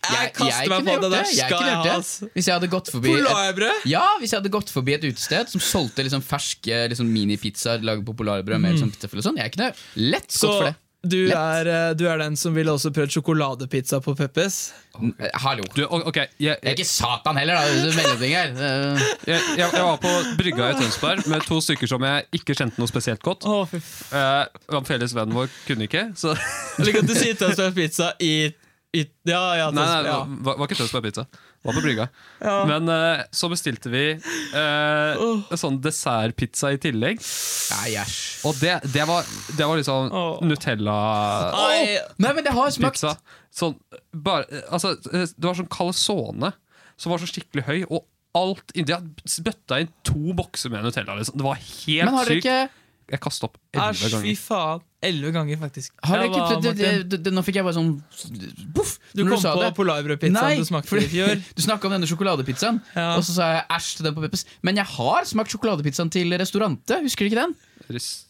S3: Jeg kaster meg
S2: kunne
S3: på
S2: gjort
S3: det der.
S2: Jeg
S3: Skal
S2: kunne
S3: jeg
S2: gjort
S3: ha,
S2: det.
S3: altså.
S2: Hvis jeg hadde gått forbi et,
S3: Polarbrød?
S2: ja, hvis jeg hadde gått forbi et utested som solgte liksom ferske liksom minipizzaer laget på polarbrød med liksom pizzafyll og sånn, jeg kunne lett
S3: Mm. Så
S2: gått for det.
S3: du
S2: Lett.
S3: er, eh, du er den som ville også prøvd sjokoladepizza på Peppes?
S2: N- eh, Hallo.
S1: Du, o- ok, jeg,
S2: Jeg er
S1: jeg,
S2: ikke Satan heller, da. Det er mellomting her. Eh,
S1: jeg, jeg var på brygga i Tønsberg med to stykker som jeg ikke kjente noe spesielt godt.
S3: Å, fy faen.
S1: Eh, han felles vennen vår kunne ikke, så
S3: Jeg liker at du sier Tønsberg Pizza i, i Ja, ja,
S1: Nei, nei,
S3: Tønsberg,
S1: det
S3: ja.
S1: var, var ikke Tønsberg Pizza. Var på brygga.
S3: Ja.
S1: Men eh, så bestilte vi eh, sånn dessertpizza i tillegg.
S2: Nei, æsj.
S1: Og det, det, var, det var liksom
S3: Åh.
S1: Nutella-pizza.
S3: Nei,
S2: Nei, men det har smakt.
S1: Sånn, bare, altså, det var sånn calzone som var så skikkelig høy, og alt inni De hadde bøtta inn to bokser med Nutella. Liksom. Det var
S2: Men
S1: helt
S2: har dere
S1: sykt.
S2: ikke
S1: Jeg kasta opp
S3: Æsj,
S1: elleve
S3: fy
S1: ganger.
S3: faen. Elleve ganger, faktisk.
S2: Har
S3: Ja,
S2: dere
S3: hva,
S2: ikke prøvd det,
S3: Martin?
S2: det, det, Nå fikk jeg bare sånn Boff!
S3: Du
S2: når
S3: kom
S2: sa
S3: på
S2: det. Nei,
S3: polarbrødpizzaen du smakte
S2: fordi-
S3: i fjor.
S2: Du snakka om denne sjokoladepizzaen,
S3: Ja.
S2: og så sa jeg æsj til den på Peppes. Men jeg har smakt sjokoladepizzaen til Restaurante. Husker du ikke den?
S1: Ris-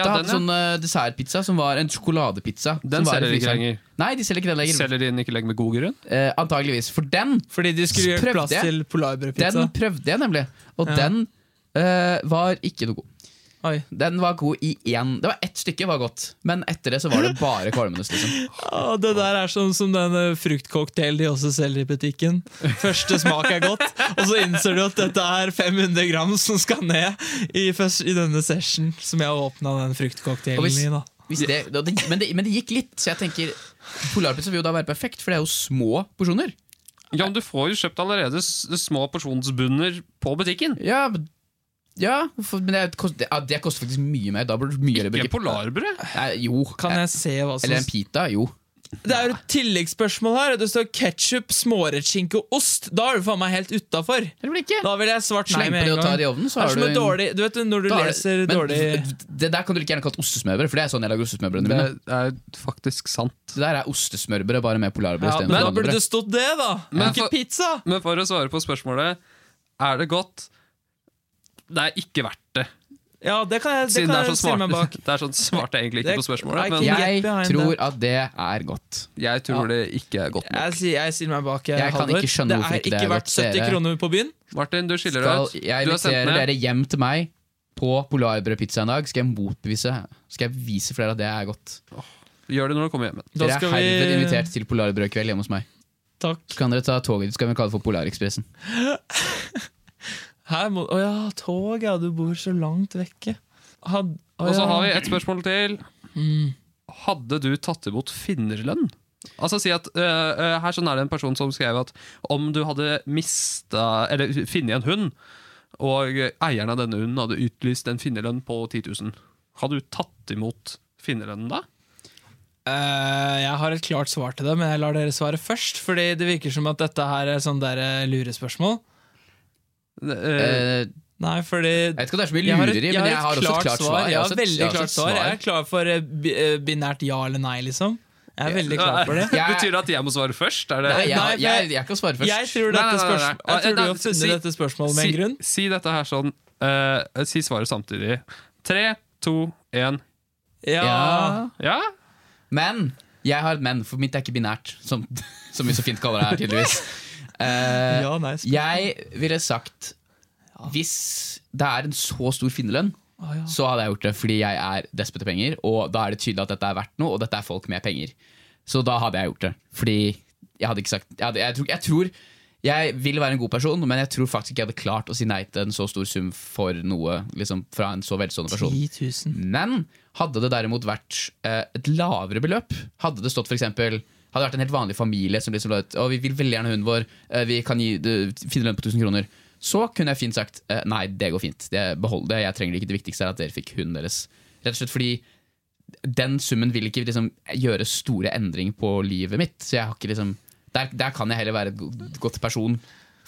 S1: Ja, ja,
S2: hadde
S1: den, ja.
S2: sånn eh, dessertpizza som var en sjokoladepizza.
S1: Den
S2: som var i
S1: selger de ikke
S2: fryseren.
S1: lenger.
S2: Nei, de selger ikke den lenger.
S1: Selger de den ikke lenger med god grunn?
S2: Eh, antageligvis. For den,
S3: Fordi de skulle
S2: Prøvde
S3: gjøre plass
S2: jeg?
S3: til
S2: den
S3: polarbrødpizza.
S2: prøvde jeg nemlig, og
S3: Ja.
S2: den eh, var ikke noe god.
S3: Oi.
S2: Den var god i én Det var ett stykke var godt, men etter det så var det bare kvalmende. Liksom.
S3: Å, det der er sånn som den eh, fruktcocktail de også selger i butikken. Første smak er godt, og så innser du at dette er 500 gram som skal ned i, først, i denne session som jeg åpna
S2: Og
S3: den fruktcocktailen
S2: hvis-
S3: i. da
S2: Hvis det, og det, men, det, men det gikk litt, så jeg tenker polarpizza vil jo da være perfekt, for det er jo små porsjoner.
S1: Ja, men Du får jo kjøpt allerede s- små porsjonsbunner på butikken.
S2: Ja, men- ja for, men det, kost, det, ja, det koster faktisk mye mer. Da burde du mye heller
S1: Ikke
S2: bruke-
S1: polarbrød.
S2: Nei, Jo.
S3: Kan jeg se hva som
S2: Eller en pita, jo.
S3: Det er jo et tilleggsspørsmål her. Det står ketsjup, smårettskinke og ost. Da er du faen meg helt utafor.
S2: Eller vel ikke?
S3: Da vil jeg svart
S2: Sleng
S3: sleng
S2: på
S3: med
S2: det
S3: en
S2: og ta det
S3: gang.
S2: i ovnen, så
S3: Det er
S2: har
S3: som
S2: du
S3: en dårlig Du vet når du
S2: da er det-
S3: leser
S2: men
S3: dårlig
S2: Det der kan du like gjerne kalt ostesmørbrød, for det er sånn jeg lager ostesmørbrødene mine.
S1: Det er faktisk sant.
S2: Det der er ostesmørbrød, bare med polarbrød
S3: Ja,
S2: istedenfor
S3: men da
S2: vanlig
S3: burde
S2: brød.
S3: det stått det, da!
S1: Men
S3: Ikke
S1: for-
S3: pizza!
S1: Men for å svare på spørsmålet Er det godt? Det er ikke verdt det.
S3: Ja, det kan jeg, det
S1: Siden
S3: kan
S1: det er så
S3: jeg stille meg bak.
S1: smart. Det er sånn svarte egentlig
S3: Det-
S1: ikke på spørsmålet,
S3: Nei,
S1: men
S3: ikke-
S1: jeg,
S2: Jeg
S3: behind det.
S2: tror at det er godt.
S1: tror det ikke er godt nok.
S3: Jeg, sier- jeg stiller meg bak. eh,
S2: Jeg kan
S3: Halvor.
S2: ikke skjønne
S3: det
S2: hvorfor
S3: er
S2: ikke
S3: ikke
S2: det er
S3: verdt
S2: godt,
S3: 70
S2: dere.
S3: kroner på byen.
S1: Martin, du skiller deg
S2: Skal
S1: ut.
S2: jeg
S1: Du er sendt
S2: invitere
S1: ned.
S2: dere hjem til meg på polarbrødpizza en dag, skal jeg motbevise Skal jeg vise for dere at det er godt.
S1: Gjør det når du kommer hjem. igjen.
S3: Da
S2: Dere er
S3: skal vi-
S2: herved invitert til polarbrødkveld hjemme hos meg.
S3: Takk.
S2: Så kan dere ta toget, så kan vi kalle det for Polarekspressen.
S3: Eh, Her må Å ja, tog, ja. Du bor så langt vekke. Had, å,
S1: Og så
S3: ja. Mm.
S1: har vi et spørsmål til. Hadde du tatt imot finnerlønn? Altså si at øh, øh, Her sånn er det en person som skrev at om du hadde mista Eller funnet en hund, og eieren av denne hunden hadde utlyst en finnerlønn på 10 000, hadde du tatt imot finnerlønnen da?
S3: Eh, jeg har et klart svar til det, men jeg lar dere svare først. Fordi det virker som at dette her er sånn der eh, lurespørsmål.
S1: Eh,
S2: Eh,
S3: Nei, fordi
S2: jeg vet ikke om det er så mye
S3: jeg har,
S2: lureri, men jeg har også et klart svar.
S3: Jeg har
S2: også et-
S3: veldig
S2: jeg har også
S3: klart
S2: et
S3: svar. Jeg er klar for eh, bi- eh, binært ja eller nei, liksom. Jeg er veldig klar for det.
S2: Jeg-
S1: Betyr det at jeg må svare først? Er det,
S2: Nei,
S3: Nei,
S2: jeg,
S3: for jeg-
S2: jeg, jeg kan svare først.
S3: Jeg
S1: Nei,
S3: tror,
S1: nei, nei,
S3: dette
S1: nei.
S3: spørsmål,
S2: Eh,
S3: jeg tror du har funnet
S1: Si-
S3: dette spørsmålet med en grunn.
S1: Si, si dette her sånn eh, Si svaret samtidig. Tre, to, én.
S3: Ja,
S2: Ja.
S1: Ja?
S2: Men jeg har et men, for mitt er ikke binært, som, som vi så fint kaller det her, tydeligvis. Eh,
S3: ja nei, sp-
S2: jeg ville sagt Hvis det er en så stor finnerlønn,
S3: Å, ja.
S2: så hadde jeg gjort det fordi jeg er desperat etter penger, og da er det tydelig at dette er verdt noe, og dette er folk med penger. Så da hadde jeg gjort det. Fordi jeg hadde ikke sagt Jeg, hadde, jeg, tror, jeg tror jeg vil være en god person, men jeg tror faktisk ikke jeg hadde klart å si nei til en så stor sum for noe liksom, fra en så velstående person.
S3: 10 000.
S2: Men hadde det derimot vært eh, et lavere beløp, hadde det stått for eksempel, hadde det vært en helt vanlig familie som liksom la ut «Å, vi vil veldig gjerne hunden vår, eh, vi kan gi, du, finne lønn på 1000 kroner, så kunne jeg fint sagt eh, nei, det går fint, det, behold det, jeg trenger det ikke, det viktigste er at dere fikk hunden deres. Rett og slett fordi den summen vil ikke liksom, gjøre store endringer på livet mitt, så jeg har ikke liksom, der, der kan jeg heller være et go- godt person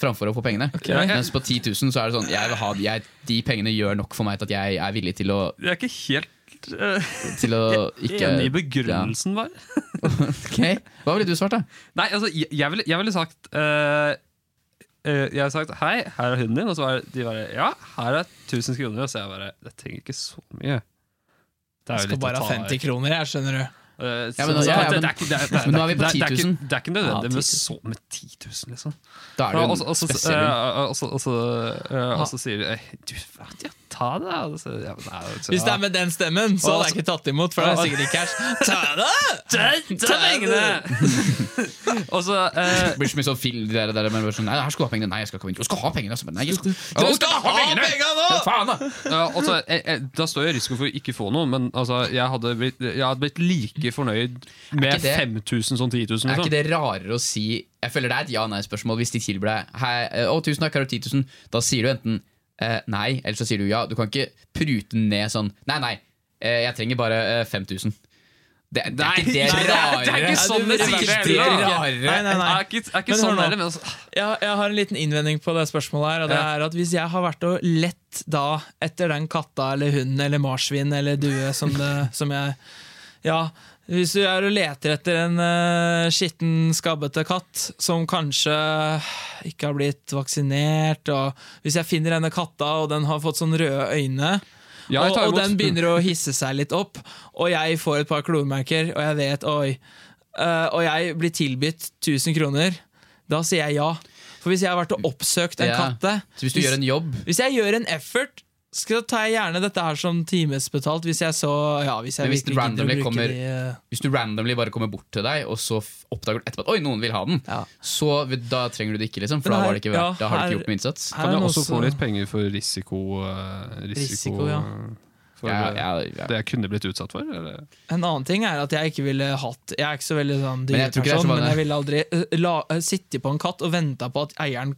S2: framfor å få pengene. Mens på 10 000 så er det sånn, jeg vil ha, jeg, de pengene gjør nok for meg til at jeg er villig til å
S1: Jeg er ikke helt eh,
S2: til å ikke
S1: enig i begrunnelsen, bare.
S2: Ok, Hva ville du svart, da?
S1: Nei, altså, jeg, jeg, ville, jeg ville sagt eh, eh, Jeg ville sagt 'hei, her er hunden din', og så var de bare 'ja, her er 1000 kroner', og så jeg bare 'Jeg trenger ikke så mye. Det
S3: Jeg skal bare ha 50 kroner, jeg, skjønner du.
S1: Eh,
S2: Ja,
S1: så-
S2: men-
S1: så-
S2: ja,
S1: det-
S2: ja,
S1: det er
S2: men-
S1: ikke- det er- det er-
S2: men nå er vi
S1: det
S2: på
S1: det
S2: 10 000.
S1: ikke- Det er ikke
S3: Ja, 10
S1: nødvendig
S3: 000.
S1: med så med 10 000, liksom.
S2: Da er
S1: Ja,
S2: det
S1: Og så-
S2: jo
S1: og
S2: en
S1: så-
S2: spesiell
S1: eh, og så- og så- eh, og så sier de «Eh, Du, vet du, ta det. da». Og så- ja, men nei, så-
S3: Hvis det er med den stemmen, så hadde jeg ikke tatt imot. For det er sikkert ikke cash Ta det!
S1: Ta- Ta pengene! Og så eh,
S2: Det blir så mye sånn film der, der, men bare sånn, nei, her skal du ha pengene. Nei, jeg skal ikke ha pengene. Du skal ha pengene! Altså. Nei, jeg skal, Ja,
S3: Du skal ha penga nå!
S2: Ja, Faen, da!
S1: Ja, altså, jeg, jeg, da står jeg i risiko for å ikke få noe, men altså, jeg, hadde blitt, jeg hadde blitt like fornøyd
S2: Er ikke
S1: med
S2: det-
S1: 5000 som 10 000.
S2: Er
S1: Liksom.
S2: ikke det rarere å si Jeg føler det er et ja-nei-spørsmål hvis de tilbyr deg hei, eh, å, tusen takk, her er du 10 000. Da sier du enten eh, nei, eller så sier du ja. Du kan ikke prute ned sånn Nei, nei, eh, jeg trenger bare eh, 5000. Det, det
S1: Nei,
S2: er ikke det
S1: nei, det er-
S2: rarere.
S1: det er ikke sånn
S3: det
S2: det
S3: sies.
S2: er
S3: Det
S2: ikke
S3: er
S2: det
S3: ikke-
S2: rarere.
S3: Nei, nei, nei.
S1: Det er ikke, er ikke
S3: Men hør
S1: sånn
S3: nå.
S1: heller, men altså,
S3: Jeg, jeg har en liten innvending på det spørsmålet her. Og det
S1: Ja.
S3: er at Hvis jeg har vært og lett da etter den katta eller hunden eller marsvin eller due som, det, som jeg Ja, hvis du er og leter etter en eh, skitten, skabbete katt som kanskje ikke har blitt vaksinert, og hvis jeg finner denne katta og den har fått sånn røde øyne
S1: ja, jeg
S3: og,
S1: tar
S3: og
S1: imot.
S3: den begynner å hisse seg litt opp, og jeg får et par kloremerker, og jeg vet Oi. eh, og jeg blir tilbudt 1000 kroner. Da sier jeg ja. For hvis jeg har vært og oppsøkt en
S2: Ja.
S3: katte
S2: Så hvis du gjør en jobb
S3: hvis jeg gjør en effort, så tar jeg gjerne dette her som timesbetalt. Hvis jeg så Ja, hvis jeg
S2: Men hvis det
S3: virkelig gidder å
S2: randomly
S3: bruke
S2: kommer-
S3: de eh,
S2: Hvis du randomly bare kommer bort til deg, og så f- oppdager du etterpå at oi, noen vil ha den,
S3: Ja.
S2: så vet- da trenger du det ikke, liksom. For
S3: Men
S2: da,
S3: her-
S2: var det ikke verdt, da
S3: ja,
S2: har du
S3: her-
S2: ikke gjort noe innsats.
S3: her er
S1: Kan jeg
S3: noen
S1: også få
S3: som-
S1: litt penger for risiko eh, Risiko,
S3: Risiko, ja.
S1: eh, For
S2: Ja,
S1: eh,
S2: ja, ja.
S1: det jeg kunne blitt utsatt for? Eller?
S3: En annen ting er at jeg ikke ville hatt Jeg er ikke så veldig sånn
S2: Men jeg tror ikke det er så
S3: dyreperson, men
S2: mange.
S3: jeg ville aldri eh, la, eh, sitte på en katt og vente på at eieren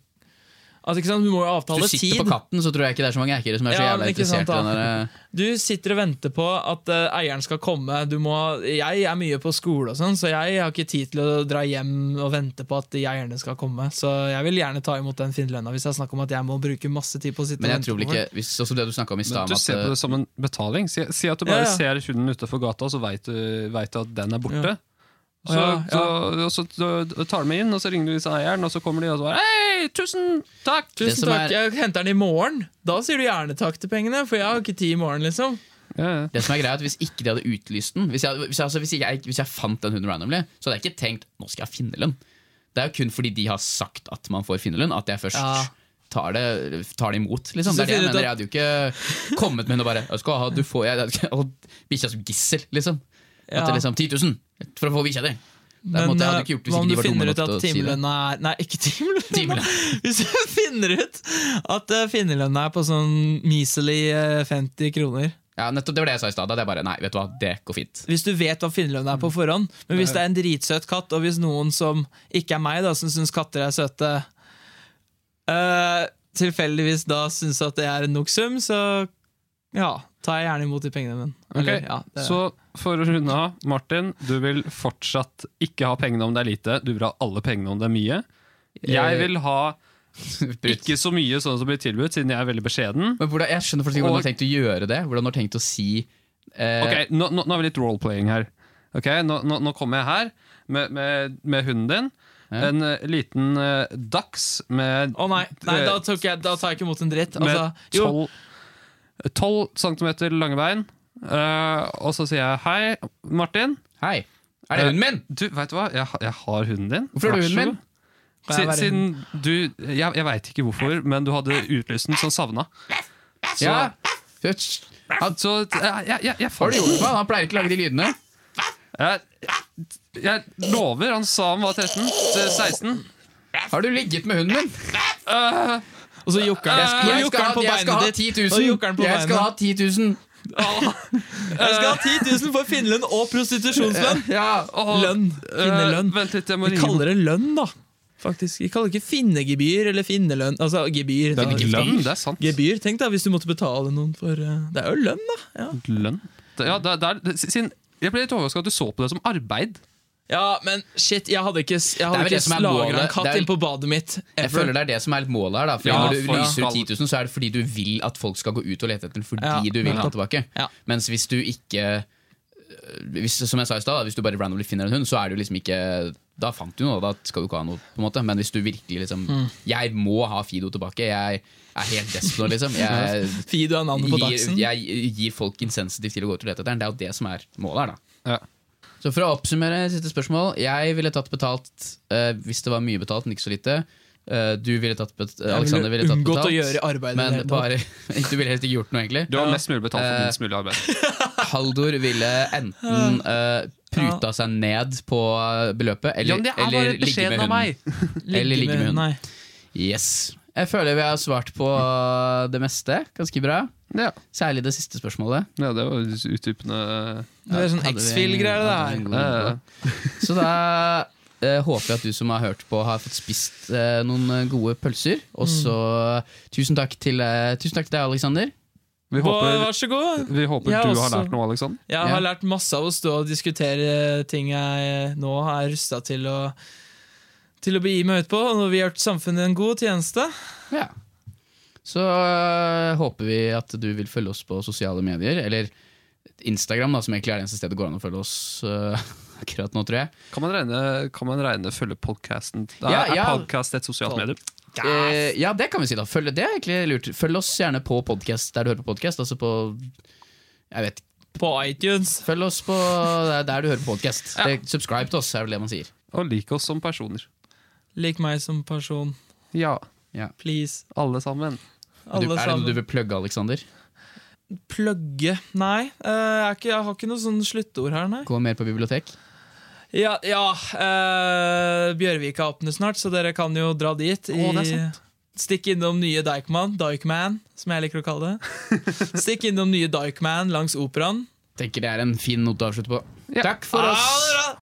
S3: Altså ikke sant, Du må jo
S2: Hvis
S3: avtale
S2: du sitter
S3: tid.
S2: på katten, så tror jeg ikke det er så mange hackere som er så
S3: Ja,
S2: jævla
S3: men ikke sant,
S2: interessert i
S3: da.
S2: den der, eh,
S3: Du sitter og venter på at eh, eieren skal komme. Du må, jeg er mye på skole, og sånn, så jeg har ikke tid til å dra hjem og vente på at de eierne skal komme. Så jeg vil gjerne ta imot den finlønna hvis det er snakk om at jeg må bruke masse tid på å sitte
S2: Men jeg
S3: og vente
S2: tror vel
S3: på
S2: ikke hvis, Også det du snakka om i
S1: Men
S2: stad,
S1: du
S2: om at eh,
S1: ser på det som en betaling. Si, si at du bare
S3: Ja, ja.
S1: ser hunden utafor gata, og så veit du, vet du at den er borte.
S3: Ja.
S1: Så,
S3: Ja, ja.
S1: så- og så, da tar du med inn, og så ringer du disse eieren, og så kommer de og så bare Hei, tusen takk!
S3: Tusen
S2: Det som
S3: takk,
S2: er-
S3: jeg henter den i morgen. Da sier du gjerne takk til pengene, for jeg har ikke tid i morgen, liksom.
S1: Ja, ja.
S2: Det som er greia er at Hvis ikke de hadde utlyst den Hvis jeg, hvis jeg, altså, hvis ikke jeg, hvis jeg fant den hunden randomly, så hadde jeg ikke tenkt nå skal jeg finne lønn. Det er jo kun fordi de har sagt at man får finnerlønn, at jeg først
S3: Ja.
S2: tar, det, tar det imot. Liksom. Det er
S3: Så
S2: det jeg
S3: finner du ut
S2: mener. Jeg hadde jo ikke kommet med henne og bare jeg skal ha, du får, jeg, jeg, og bikkja som gissel, liksom. At
S3: Ja.
S2: det liksom 10 000 for å få bikkja di! Det er på en måte
S3: Men
S2: jeg
S3: eh,
S2: hadde ikke gjort hvis
S3: hva om
S2: ikke
S3: du
S2: de var dumme
S3: finner
S2: nok
S3: ut at
S2: til å si det.
S3: timelønna er Nei, ikke timelønna!
S2: Timelønn.
S3: Hvis du finner ut at eh, finnerlønna er på sånn measly eh, 50 kroner
S2: Ja, nettopp, det var det jeg sa i stad. Da hadde jeg bare Nei, vet du hva, det går fint.
S3: Hvis du vet hva finnerlønna er på forhånd. Men hvis det er en dritsøt katt, og hvis noen som ikke er meg, da, som syns katter er søte, eh, tilfeldigvis da syns at det er en nok sum, så ja, tar jeg gjerne imot de pengene. Men, eller,
S1: Ok,
S3: ja, det-
S1: Så for å runde av, Martin, du vil fortsatt ikke ha pengene om det er lite. Du vil ha alle pengene om det er mye.
S3: Eh,
S1: Jeg vil ha
S2: Brutt.
S1: ikke så mye sånn som blir tilbudt, siden jeg er veldig beskjeden.
S2: Men hvordan, jeg skjønner faktisk ikke hvordan
S1: Og-
S2: du har tenkt å gjøre det. Hvordan du har tenkt å si eh,
S1: Ok, Nå, nå, nå har vi litt roleplaying her. Ok, Nå, nå, nå kommer jeg her med, med, med hunden din.
S2: Ja.
S1: En eh, liten eh, dachs med
S3: Å nei, nei da, tok jeg, da tar jeg ikke imot en dritt.
S1: med
S3: Altså, jo,
S1: 12, 12 centimeter lange bein. Eh, og så sier jeg hei, Martin.
S2: Hei, er
S3: Eh,
S2: det hunden min?
S1: Du, vet du hva? Jeg, ha- jeg har hunden din.
S2: Hvorfor har
S1: Vær
S2: du hunden
S1: så
S2: min?
S1: god.
S3: Kan jeg
S1: Siden,
S3: være
S1: siden du Jeg, jeg veit ikke hvorfor, men du hadde utlyst den som savna. Så,
S2: Ja. Hysj. Han,
S1: så jeg, jeg, jeg, jeg
S2: har
S1: fant
S2: du gjort det for han? han pleier ikke å lage de lydene.
S1: jeg, jeg lover, han sa han var 13. til 16.
S2: Har du ligget med hunden min?
S3: og så jokker han.
S1: Jeg skal-
S3: Nå
S2: Jeg
S3: jokker
S2: skal
S3: han
S2: ha,
S3: på
S2: jeg skal ha
S3: beinet ditt.
S2: 10
S3: Nå
S2: 000.
S3: jokker han på
S2: Jeg skal
S3: beinet.
S2: ha 10 000.
S3: Jeg skal ha 10 000 for finnerlønn og prostitusjonslønn!
S2: Ja.
S1: Åh,
S3: Lønn. Finnerlønn.
S1: eh, vent litt, jeg må
S3: De
S1: ringe
S3: kaller det lønn, da. Faktisk. De kaller det ikke finnegebyr eller finnerlønn. Altså gebyr.
S1: Det er
S3: da.
S1: ikke lønn, det er sant.
S3: Gebyr, tenk da, hvis du måtte betale noen for eh, Det er jo lønn, da! Ja,
S1: Lønn. Det- Ja, det, det er, det- siden, jeg ble litt overraska at du så på det som arbeid.
S3: ja men shit, jeg hadde ikke, jeg
S2: Det er
S3: hadde
S2: vel det som
S3: ikke
S2: er
S3: lagra
S2: målet.
S3: en katt
S2: Det er-
S3: inn på badet mitt.
S2: Jeg føler det er det som er litt målet her. Da. Fordi
S1: Ja,
S2: når du
S1: folk
S2: lyser
S1: skal-
S2: ut 10 000, så er det fordi du vil at folk skal gå ut og lete etter den fordi
S3: Ja,
S2: du vil ha den
S3: nettopp.
S2: tilbake.
S3: Ja.
S2: Mens hvis du ikke øh, hvis, Som jeg sa i stad, hvis du bare randomly finner en hund, så er du liksom ikke Da fant du noe, da skal du ikke ha noe. på en måte Men hvis du virkelig liksom
S3: Mm.
S2: Jeg må ha Fido tilbake. Jeg er helt desp nå, liksom. Jeg
S3: Fido er navnet på
S2: gir,
S3: dagsen.
S2: jeg gir folk insensitivt til å gå ut og lete etter den. Det er jo det som er målet her, da.
S1: Ja.
S2: Så for å oppsummere siste spørsmål. Jeg ville tatt betalt eh, hvis det var mye betalt, men ikke så lite. Eh, du ville tatt bet
S3: ville
S2: Alexander ville tatt betalt.
S3: unngått å gjøre arbeidet i
S2: men
S3: det hele
S2: bare, du ville helst ikke gjort noe, egentlig.
S1: Du har mest mulig betalt for
S2: Eh.
S1: minst mulig arbeid.
S2: Haldor ville enten eh, pruta seg ned på eh, beløpet,
S1: Ja,
S2: eller,
S1: men det er
S2: eller
S1: bare
S2: ligge med
S1: beskjeden av
S2: hunden.
S1: meg.
S2: Eller ligge med hunden.
S3: Nei.
S2: Yes. Jeg føler vi har svart på eh, det meste ganske bra.
S1: Ja,
S2: Særlig det siste spørsmålet.
S1: ja det var utdypende.
S3: Det er sånn
S2: Hadde vi-
S3: X-Fill-greier, det
S2: hadde vi
S3: der.
S2: en god runde
S1: Eh,
S2: på det. Så da eh, håper jeg at du som har hørt på, har fått spist eh, noen eh, gode pølser. Og så eh, tusen, takk til, eh, tusen takk til deg, Aleksander.
S1: Vi håper,
S3: Vær så god.
S1: vi håper
S3: Jeg
S1: du har
S3: også.
S2: altså-
S1: lært noe, Alexander.
S3: Jeg
S2: Ja.
S3: har lært masse av å stå og diskutere ting jeg nå er rusta til å til å begi meg ut på, og når vi har gjort samfunnet en god tjeneste.
S2: Ja. Så øh, håper vi at du vil følge oss på sosiale medier, eller Instagram, da, som egentlig er det eneste stedet det går an å følge oss øh, akkurat nå, tror jeg.
S1: Kan man regne, kan man regne følge podkasten? Er,
S2: Ja,
S1: er
S2: ja.
S1: podcast et sosialt medium?
S2: Eh, ja, det kan vi si, da. Følg, det er egentlig lurt. Følg oss gjerne på podcast der du hører på podkast. Altså på Jeg vet ikke.
S3: På iTunes.
S2: Følg oss på der, der du hører på podkast. Subscribe til oss, er vel det man sier.
S1: Og lik oss som personer.
S3: Lik meg som person.
S1: Ja,
S3: Please.
S1: alle sammen.
S2: Du,
S3: Alle
S2: er det noe
S3: sammen.
S2: du vil plugge, Aleksander?
S3: Plugge Nei, eh, jeg, er ikke, jeg har ikke noe sånn sluttord her, nei.
S2: Gå mer på bibliotek?
S3: Ja, ja eh, Bjørvika åpner snart, så dere kan jo dra dit.
S1: Å, det er
S3: i- Stikk innom nye Dykman, Dykman, som jeg liker å kalle det. Stikk innom nye Dykman langs operaen. Ah,
S2: Tenker det er en fin note å avslutte på.
S1: Ja.
S2: Takk for oss!